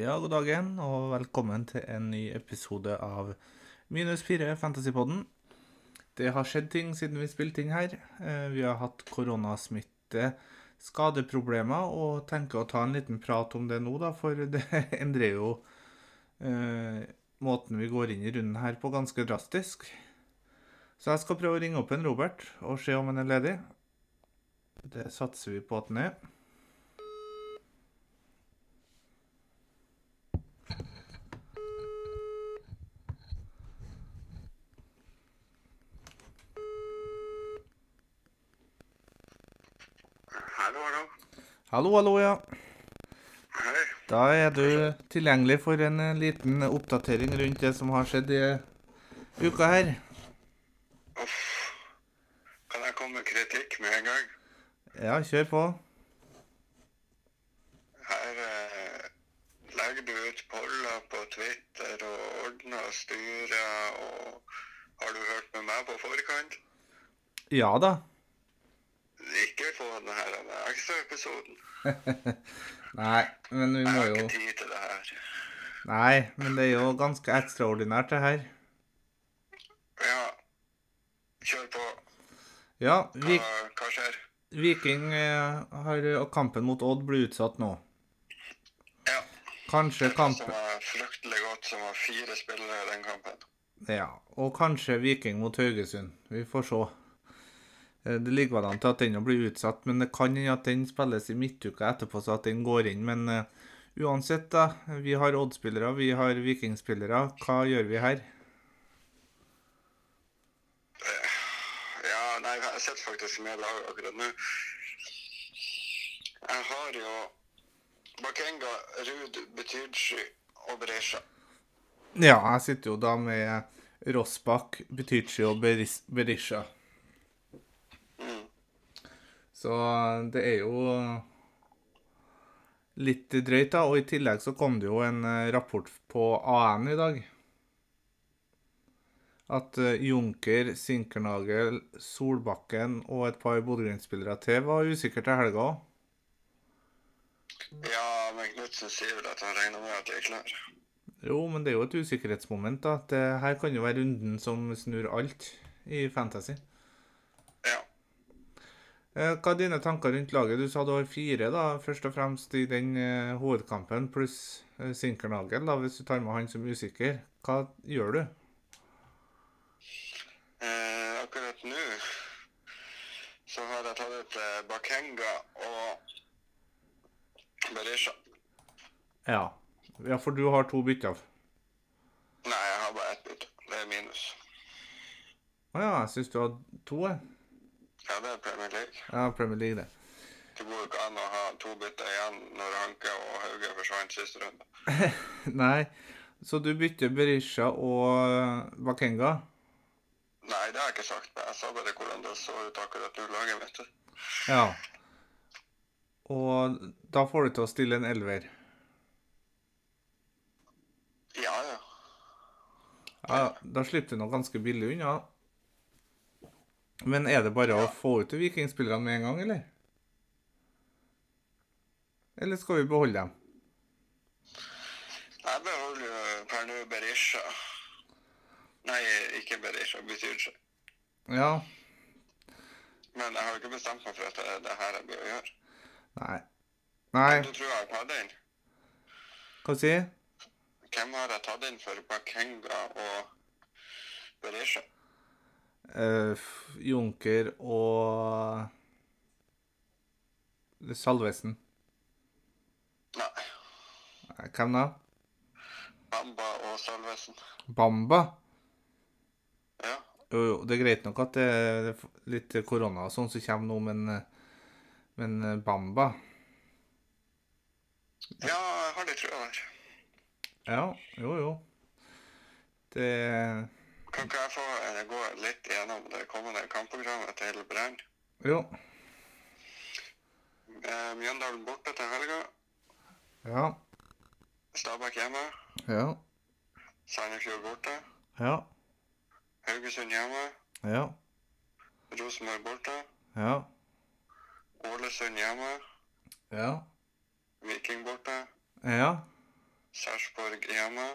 Ja, god dagen, og velkommen til en ny episode av Minus 4 Fantasypodden. Det har skjedd ting siden vi spilte inn her. Eh, Vi har hatt koronasmitte, skadeproblemer, og tenker å ta en liten prat om det nå, da, for det endrer jo eh, måten vi går inn i runden her på ganske drastisk. Så jeg skal prøve å ringe opp en Robert og se om han er ledig. Det satser vi på at han er. Hallo, hallo. Hallo, hallo, ja. Hei. Da er du tilgjengelig for en eh, liten oppdatering rundt det som har skjedd i eh, uka her. Uff. Kan jeg komme med kritikk med en gang? Ja, kjør på. Her eh, legger du ut poller på Twitter og ordner og styrer og Har du hørt med meg på forkant? Ja da. Ikke få denne ekstraepisoden. Nei, men vi Jeg må har jo ikke tid til det her. Nei, men det er jo ganske ekstraordinært, det her. Ja, kjør på. Ja, Hva, Vik hva skjer? Viking eh, har Og kampen mot Odd blir utsatt nå. Ja. Kanskje kamp... Som var fryktelig godt, som var fire spillere i den kampen. Ja, og kanskje Viking mot Haugesund. Vi får se. Eh, Det ligger vel an til at den nå blir utsatt, men det kan hende at den spilles i midtuka etterpå, så at den går inn. Men eh, uansett, da. Vi har Odd-spillere, vi har Viking-spillere. Hva gjør vi her? Ja, nei, jeg sitter faktisk med laget akkurat nå. Jeg har jo Bakenga, Ruud, Betydsky og Brescia. Ja, jeg sitter jo da med Rossbakk, Betychi og Beris- Berisha. Så det er jo litt drøyt, da. Og i tillegg så kom det jo en eh, rapport på AN i dag. At eh, Junker, Sinkernagel, Solbakken og et par Bodø-Glimt-spillere til var usikkert til helga òg. Ja, men Knutsen sier vel at han regner med at de er klare. Jo, men det er jo et usikkerhetsmoment, da. At det her kan jo være runden som snur alt i Fantasy. Ja. Eh, Hva er dine tanker rundt laget? Du sa du har fire, da, først og fremst i den eh, hovedkampen, pluss eh, Sinkernagel, da, hvis du tar med han som usikker. Hva gjør du? Eh, akkurat nå så har jeg tatt ut eh, Bakenga og Berisha. Ja. Ja, for du har to bytter. Nei, jeg har bare ett bytte. Det er minus. Å ja, jeg syns du hadde to, jeg. Ja, det er Premier League. Ja, Premier League, det. Det går jo ikke an å ha to bytter igjen når Hanke og Hauge forsvant siste runde. Nei, så du bytter Berisha og eh, Bakenga? Nei, det har jeg ikke sagt. men Jeg sa bare hvordan det så ut akkurat nå, laget mitt. Ja. Og da får du til å stille en elver. Ja, ja. Ja, da slipper du noe ganske billig unna. Men er det bare å få ut de vikingspillerne med en gang, eller? Eller skal vi beholde dem? Jeg beholder jo eh, per nå Berisha. Nei, ikke Berisha, betyr ikke. Ja. Men jeg har jo ikke bestemt meg for at det er det her jeg bør gjøre. Nei. Nei, Du tror jeg har tatt inn? hva sier jeg? Hvem har jeg tatt inn for Bakenga og Berisha? Eh, f- Junker og Salvesen. Nei, Eh, Hvem da? Bamba og Salvesen. Bamba? Ja. Jo, jo, det er greit nok at det er litt korona og sånn som kommer nå, men, eh, men eh, Bamba ja, jeg har litt trua der. Ja, jo, jo. Det Kan ikke jeg få eh, gå litt gjennom det kommende kampprogrammet til Brann? Jo. Eh, Mjøndalen borte til helga. Ja. Stabæk hjemme, Ja. Sandefjord borte, Ja. Haugesund hjemme, Ja. Rosenborg borte, Ja. Ålesund hjemme, Ja. Viking borte, Ja. Sarpsborg hjemme.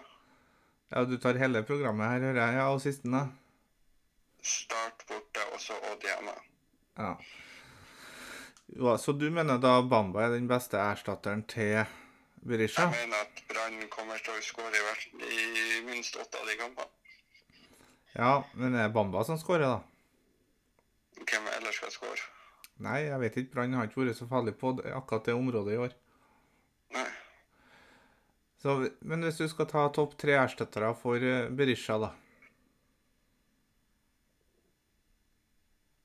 Ja, du tar hele programmet her, hører jeg. Ja, og sisten, da. Start borte, og så Odd hjemme. Ja. Jo, Så du mener da Bamba er den beste erstatteren til Berisha? Jeg mener at Brann kommer til å skåre i, hvert- i minst åtte av de kampene. Ja, men det er Bamba som skårer, da. Hvem ellers skal skåre? Nei, jeg vet ikke. Brann har ikke vært så farlig på det- akkurat det området i år. Nei. Så, men hvis du skal ta topp tre erstattere for eh, Berisha, da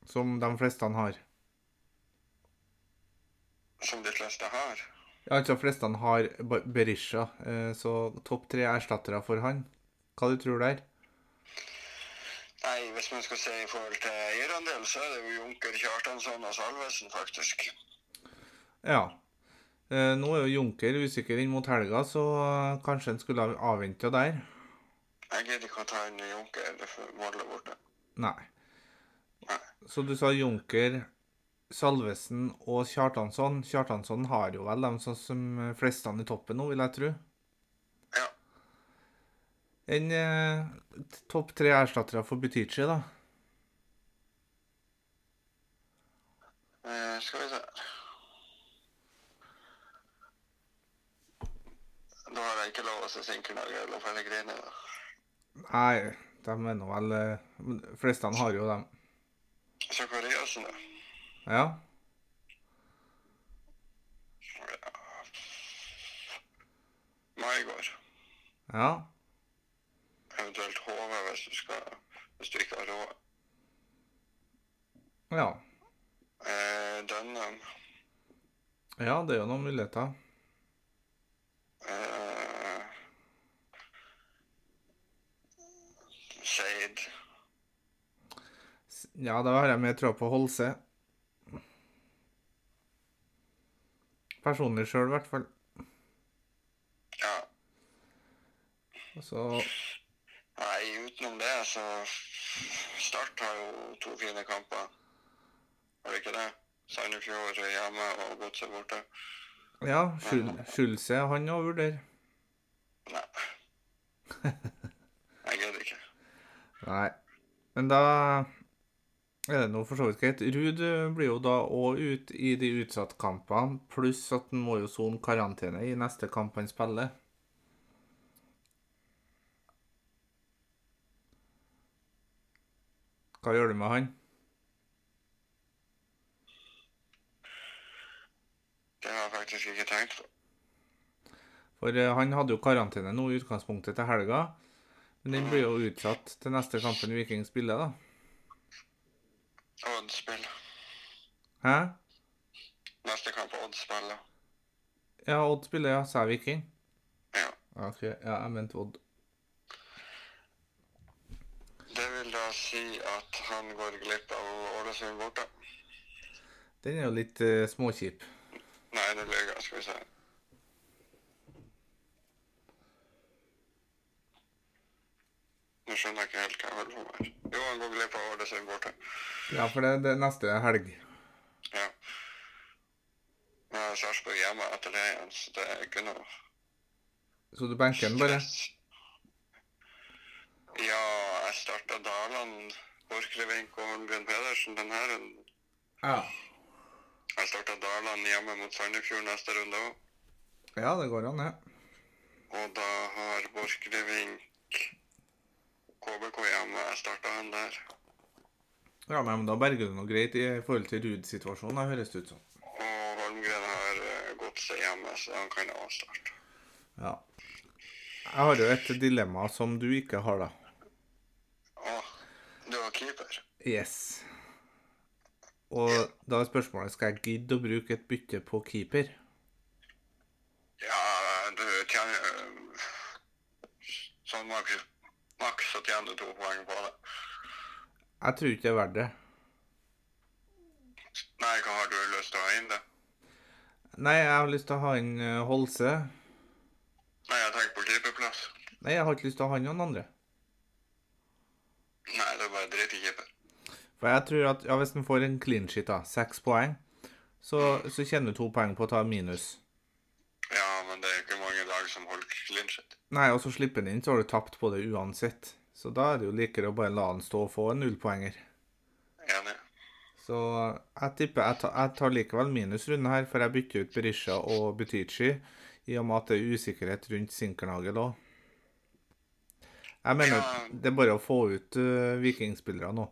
Som de fleste han har. Som de fleste har. Ja, altså fleste han har Ba- Berisha, eh, så topp tre erstattere for han. Hva du tror der? Nei, hvis man skal si i forhold til eierandel, så er det jo Junker Kjartansson og Salvesen, faktisk. Ja. Eh, Nå er jo Junker usikker inn mot helga, så eh, kanskje han skulle ha avventa der. Jeg gidder ikke å ta inn Junker, det får målet borte. Nei. Nei. Så du sa Junker, Salvesen og Kjartansson. Kjartansson har jo vel dem sånn som fleste i toppen nå, vil jeg tro. Ja. En eh, t- topp tre erstattere for Butichi, da. Eh, skal vi se Da har jeg ikke lov å se Sinkernagel eller Pellegrini, da. Nei, de er nå vel eh, men Fleste har jo dem. Sakariassen, da. Ja. Maigård. Ja. Eventuelt HV hvis du skal Hvis du ikke har råd. Ja. Eh, Dønnem. Ja, det er jo noen muligheter. Eh, Seid. S- Ja, da har jeg mer tro på Holse. Personlig sjøl, i hvert fall. Ja. Og Så Nei, utenom det, så Start har jo to fine kamper. Har de ikke det? Sandefjord hjemme og Godset borte. Ja, Schul- Schulze, han òg vurderer. Nei. Jeg gidder ikke. Nei. Men da er det nå for så vidt greit. Ruud eh, blir jo da òg ut i de utsattkampene, pluss at han må jo sone karantene i neste kamp han spiller. Hva gjør du med han? Det har jeg faktisk ikke tenkt på. For eh, han hadde jo karantene nå i utgangspunktet til helga, men den blir jo utsatt til neste kampen Viking spiller, da. Odd spiller. Hæ? Neste kamp Odd spiller. Ja, Odd spiller, ja, sa Viking. Ja. Ok, ja, jeg mente Odd. Det vil da si at han går glipp av Ålesund borte. Den er jo litt eh, småkjip. Nei, det løy jeg, skal vi se. Nå skjønner jeg ikke helt hva jeg holder på med. her. Jo, han går glipp av Ålesund borte. Ja, for det, det er neste helg. Ja. Nå er Sarpsborg hjemme etter det igjen, så det er ikke noe Så du benker den bare? Ja, jeg starta Daland, Borchgrevink og Holmgren Pedersen denne runden. Ja. Jeg starta Daland hjemme mot Sandefjord neste runde òg. Ja, det går an, det. Og da har Borchgrevink KBK hjemme. Jeg starta han der. Ja, ja men da berger du noe greit i forhold til Ruud-situasjonen, da, høres det ut som. Og Holmgren har eh, Godset hjemme, så han kan også starte. Ja. Jeg har jo et dilemma som du ikke har, da. Å, du var keeper? Yes. Og da er spørsmålet skal jeg gidde å bruke et bytte på keeper. Ja, du tjener eh, Sånn maks, maks så tjener du to poeng på det. Jeg tror ikke det er verdt det. Nei, hva har du lyst til å ha inn, da? Nei, jeg har lyst til å ha inn eh, Holse. Nei, jeg tenker på keeperplass. Nei, jeg har ikke lyst til å ha inn noen andre. Nei, det er bare dritt i keeper. For jeg tror at ja, hvis en får en clean sheet, da, seks poeng, så, så tjener du to poeng på å ta minus. Ja, men det er ikke mange lag som holder lynsjet. Nei, og så slipper han inn, så har du tapt på det uansett. Så da er det jo likere å bare la han stå og få en nullpoenger. Enig. Så jeg tipper jeg, ta, jeg tar likevel minusrunde her, for jeg bytter ut Berisha og Butichi, i og med at det er usikkerhet rundt Sinkernagel òg. Jeg mener Ja. det er bare å få ut eh, vikingspillere nå.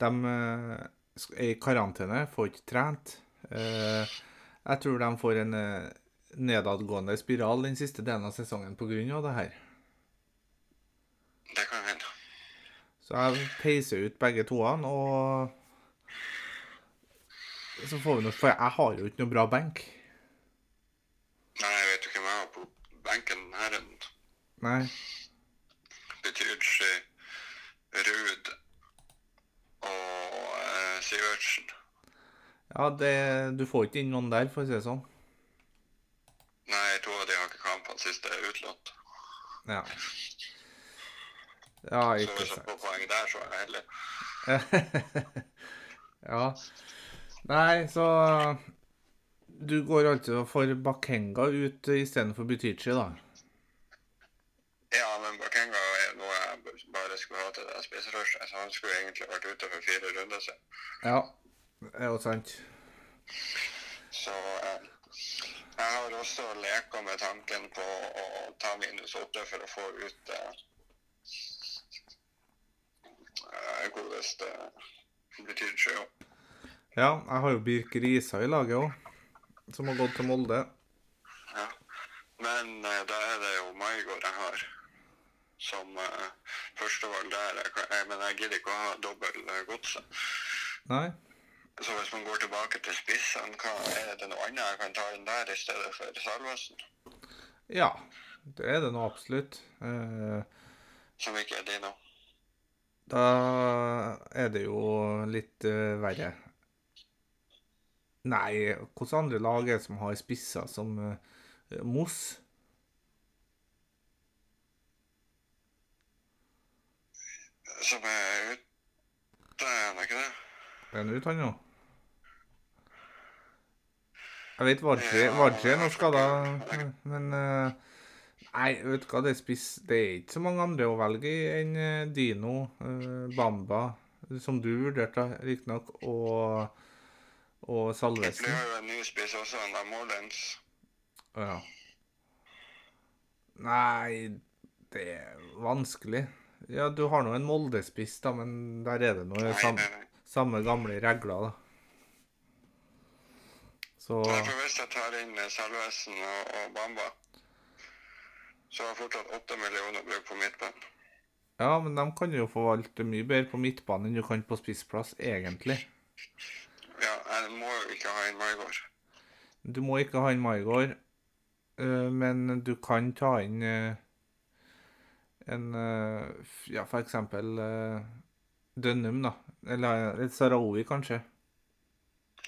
De eh, sk- er i karantene, får ikke trent. Eh, jeg tror de får en eh, nedadgående spiral den siste delen av sesongen pga. det her. Det kan hende. Så jeg peiser ut begge toene, og så får vi noe, For jeg har jo ikke noe bra benk. Nei, jeg vet jo hvem jeg har på benken her. en Nei. Betyrdsi, Ruud og eh, Sivertsen. Ja, det, du får ikke inn noen der, for å si det sånn. Nei, to av de har ikke kamp, han siste er utlånt. Ja. Ja, Så ikke hvis jeg sant. får poeng der, så er jeg heldig. ja. Nei, så Du går altså for Bakenga ut istedenfor Butichi, da. Ja, men Bakenga er noe jeg bare skulle ha til det spiserushet. Så han skulle egentlig vært ute for fire runder siden. Ja. Det er jo sant. Så eh, jeg har også leka med tanken på å ta minus åtte for å få ut eh, eh, godeste Betyrdsi òg. Ja, jeg har jo Birk Risa i laget òg, som har gått til Molde. Ja. Men eh, da er det jo Maigård jeg har som eh, førstevalg der. Jeg, kan- jeg, men jeg gidder ikke å ha dobbel eh, godset. Nei? Så hvis man går tilbake til spissene, hva er det noe annet jeg kan ta inn der i stedet for Salvesen? Ja. Det er det nå absolutt. Eh, Som ikke er dino? Da er det jo litt eh, verre. Nei, hvilke andre lag er det som har spisser som eh, Moss? Som er ute, er han ikke det? Er han ute, han nå? Jeg vet Vardø Vardø er nå skada, men eh, Nei, vet du hva, det er spiss Det er ikke så mange andre å velge i enn eh, Dino, eh, Bamba, som du vurderte, riktignok, og, og Det Salvesen. blir jo en ny spiss også, han der Morlens. Ja. Nei, det er vanskelig. Ja, du har nå en Molde-spiss, da, men der er det noe Nei, eh, sam nei, nei. samme gamle regler, da. Så Derfor hvis jeg tar inn eh, Salvesen og, og Bamba, så har jeg fortsatt åtte millioner å bruke på midtbanen. Ja, men de kan jo forvalte mye bedre på midtbanen enn du kan på spissplass, egentlig. Ja, jeg må jo ikke ha inn Maigård. Du må ikke ha inn Maigård, eh, men du kan ta inn eh, en eh, f- Ja, for eksempel eh, Dønnum, da. Eller eh, Sarawi, kanskje.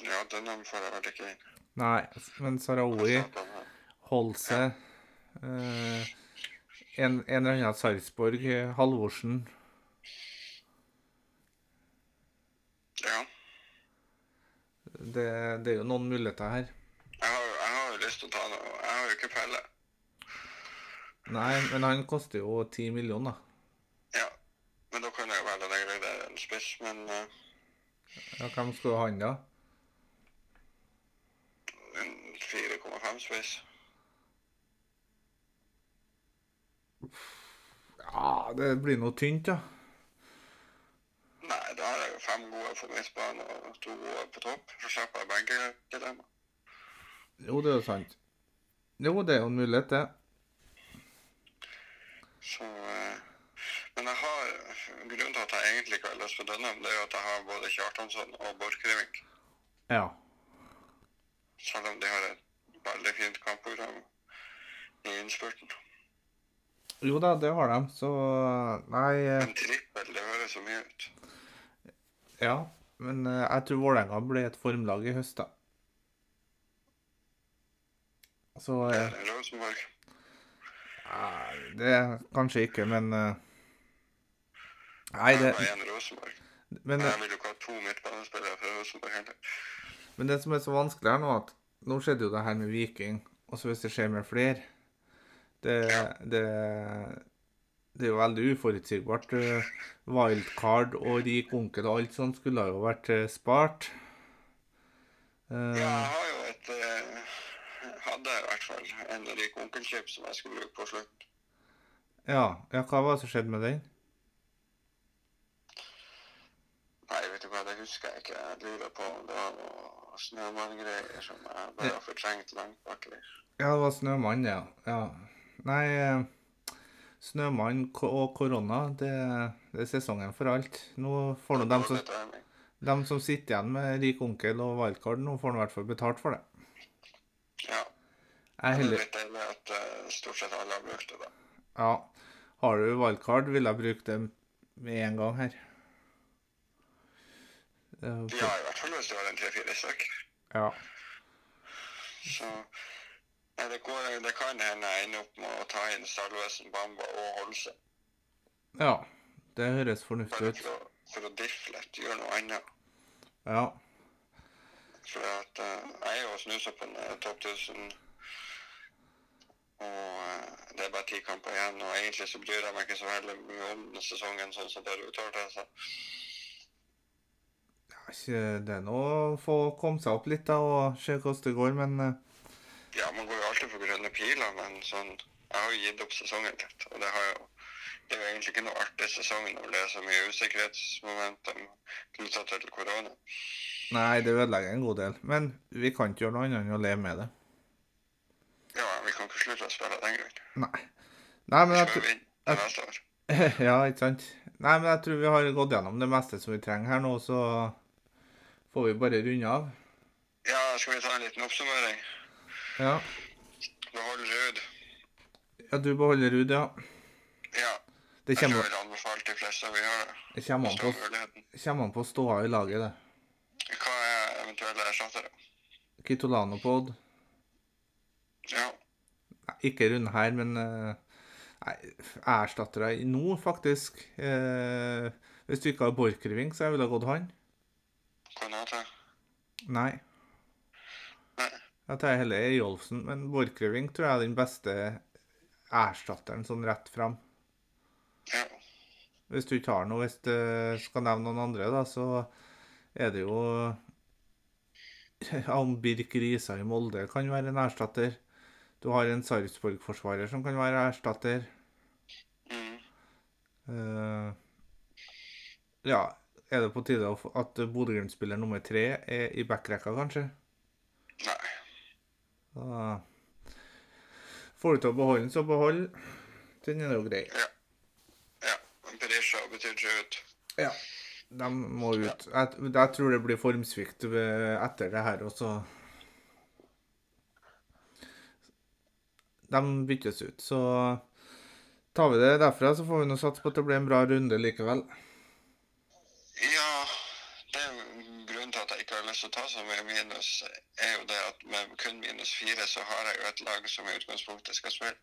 Ja, denne får jeg vel ikke inn. Nei, men Sarawi Holse eh, en, en eller annen Sarpsborg, eh, Halvorsen Ja. det, det er jo noen muligheter her. Jeg har, jeg har jo lyst til å ta noe. Jeg har jo ikke pelle. Nei, men han koster jo ti millioner, da. Ja. Men da kan jeg jo velge deg det er en spiss, men eh, Ja, hvem skulle ha han da? en 4,5 spiss. Ja, det blir noe tynt, ja. Nei, da har jeg jo fem gode på midtbanen og to gode på topp. Så slipper jeg benkedilemma. Jo, det er jo sant. Jo, det er jo en mulighet, det. Så eh, Men jeg har grunnen til at jeg egentlig ikke har lyst på Dønnum, det er jo at jeg har både Kjartansson og Borchgrevink. Ja. Selv om de har et veldig fint kampprogram i innspurten. Jo da, det har de, så Nei. eh, En trippel, det høres så mye ut. Ja. Men eh, jeg tror Vålerenga blir et formlag i høst, da. Så eh, Rosenborg. Nei, det kanskje ikke, men eh, Nei, Det det, er bare én Rosenborg. men, eh, Men det, jeg vil jo ikke ha to midtbanespillere fra Rosenborg heller. men det som er så vanskelig her nå, at nå skjedde jo det her med Viking, og så hvis det skjer med flere Det, det, det er jo veldig uforutsigbart. Eh, Wildcard og rik onkel og alt sånt skulle ha jo vært eh, spart. Ja, Eh, jeg har jo et eh, Hadde i hvert fall en rik onkelchip som jeg skulle bruke på slutt. ja. ja, hva var det som skjedde med den? Nei, vet du hva, det husker jeg ikke. Jeg lurer på om det var noe snømanngreier som jeg bare har fortrengt langt baki der. Ja, det var Snømann, ja. ja. Nei, eh, Snømann ko- og korona, det, det er sesongen for alt. Nå får nå dem som, Dårlig timing. dem som sitter igjen med rik onkel og wildcard, nå får nå i hvert fall betalt for det. Ja. Jeg Det er heller, litt deilig at eh, stort sett alle har brukt det, da. ja, har du wildcard, vil jeg bruke det med en gang her. Eh, Ja, i hvert fall hvis du har en tre-fire stykk. Ja. Så Nei, det, går, det kan hende jeg ender opp med å ta inn Salvesen, Bamba og Holse. ja, det høres Bare fornuftig ut. for å, for å diffe litt, gjøre noe annet. Ja, For at, eh, jeg er jo snusa på en eh, topp 1000, og eh, det er bare ti kamper igjen. Og egentlig så bryr jeg meg ikke så veldig mye om denne sesongen, sånn som det uttalte seg. det er ikke- det er nå å få komme seg opp litt da, og se hvordan det går, men... eh, Ja, man går jo alltid for grønne piler, men sånn Jeg har jo gitt opp sesongen litt, og det har jo det er jo egentlig ikke noe artig sesong når det er så mye usikkerhetsmomentum knyttet til korona. Nei, det ødelegger en god del. Men vi kan ikke gjøre noe annet enn å leve med det. Ja, vi kan ikke slutte å spille av den grunn. Nei. Nei, men Vi jeg, skal tr- vinne til neste år. ja, ikke sant? Nei, men jeg tror vi har gått gjennom det meste som vi trenger her nå, så får vi bare runde av. Ja, skal vi ta en liten oppsummering? Ja, Behold Ruud. ja du beholder Ruud, ja. Ja, Det jeg tror kommer, jeg vil anbefale de fleste å gjøre det. det kommer, an, Stå på, muligheten. kommer an på ståa i laget, det. Hva er eventuelle erstattere? Kitolano på Odd. Ja. Nei, Ikke runde her, men eh, Nei, erstattere i nå, faktisk. Eh, hvis du ikke har Borchgrevink, så jeg ville ha gått han. Konate? Nei. Nei. Jeg tar heller Eyolfsen, men Borchgrevink tror jeg er den beste erstatteren sånn rett fram. Ja. Hvis du ikke har noe, hvis du skal nevne noen andre, da, så er det jo Om Birk Risa i Molde kan være en erstatter. Du har en Sarpsborg-forsvarer som kan være erstatter. Mm. Eh, ja, er det på tide å få- at Bodø-Glimt-spiller nummer tre er i backrekka, kanskje? Nei. Da får du til å beholde den, så behold. Den er jo grei. Ja. Berisha betyr Ruud. Ja. De må ut. Jeg, jeg tror det blir formsvikt ved- etter det her også. De byttes ut, så tar vi det derfra, så får vi nå satse på at det blir en bra runde likevel. Ja, det er jo grunnen til at jeg ikke har lyst til å ta så mye minus, er jo det at med kun minus fire så har jeg jo et lag som i utgangspunktet skal spille.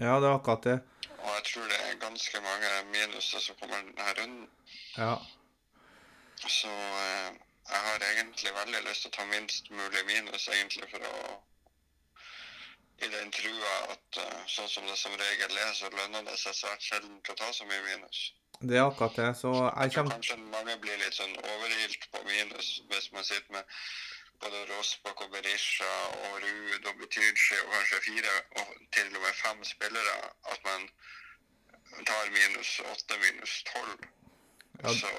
Ja, det er akkurat det. Og jeg tror det er ganske mange minuser som kommer denne runden. Ja. Så eh, jeg har egentlig veldig lyst til å ta minst mulig minus, egentlig, for å I den trua at eh, sånn som det som regel er, så lønner det seg svært sjelden å ta så mye minus. Det er akkurat det. Så jeg Så kommer Kanskje mange blir litt sånn overilt på minus hvis man sitter med både Rossbakk og Berisha og Ruud og Betydschi og kanskje fire og til og med fem spillere, at man tar minus åtte, minus tolv. Ja. Så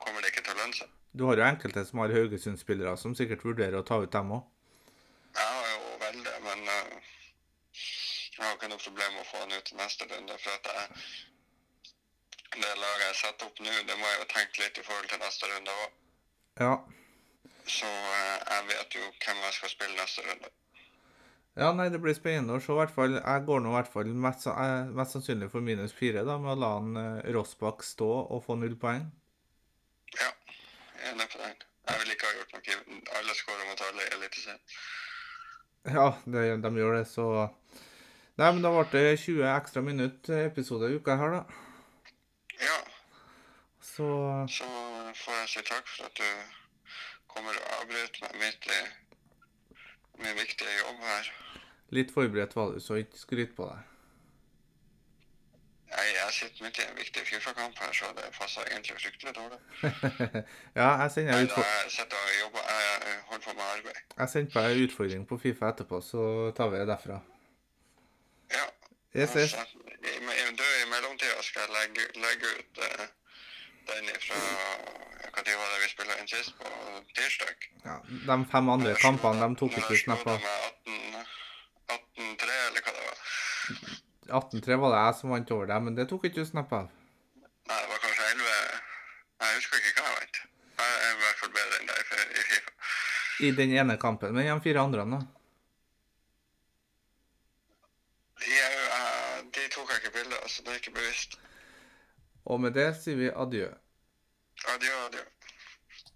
kommer det ikke til å lønne seg. Du har jo enkelte som har Haugesund-spillere som sikkert vurderer å ta ut dem òg. Jeg har jo veldig, men eh, jeg har ikke noe problem med å få han ut i neste runde. For at jeg, det laget jeg setter opp nå, det må jeg jo tenke litt i forhold til neste runde òg. Ja. Så eh, jeg vet jo hvem jeg skal spille neste runde. Ja, nei, det blir spennende å se. i hvert fall. Jeg går nå i hvert fall mest, sa- eh, mest sannsynlig for minus fire, da, med å la han eh, Rossbakk stå og få null poeng. Ja, jeg er enig på den. Jeg ville ikke ha gjort noe. i- Alle skårer mot alle i Eliteserien. Ja, det, de gjør det, så Nei, men da ble det 20 ekstra minutter episode i uka her, da. Ja, Så så får jeg si takk for at du kommer og avbryter meg midt i min viktige jobb her. litt forberedt var du, så ikke skryt på deg. Jeg, jeg sitter midt i en viktig Fifa-kamp her, så det passer egentlig fryktelig dårlig. Ja, jeg sender Men ut for... jeg sitter og jobber, jeg jeg holder på med arbeid. Jeg sendte på en utfordring på Fifa etterpå, så tar vi det derfra. Ja. Yes, yes. altså, i, i, du, I mellomtida skal jeg legge, legge ut eh, den ifra Når var det vi spilte inn sist? På tirsdag? Ja, de fem andre kampene de tok ikke snap snappa. av. 18-3, eller hva det var. 18-3 var det jeg som vant over dem, men det tok ikke du snap av. Nei, det var kanskje 11 Jeg husker ikke hva jeg vant. Jeg er i hvert fall bedre enn deg for, i Fifa. I den ene kampen. Men de fire andre, da? Jeg, eh, de tok jeg ikke bilde av, så det er ikke bevisst. Og med det sier vi adjø. Adjø, adjø.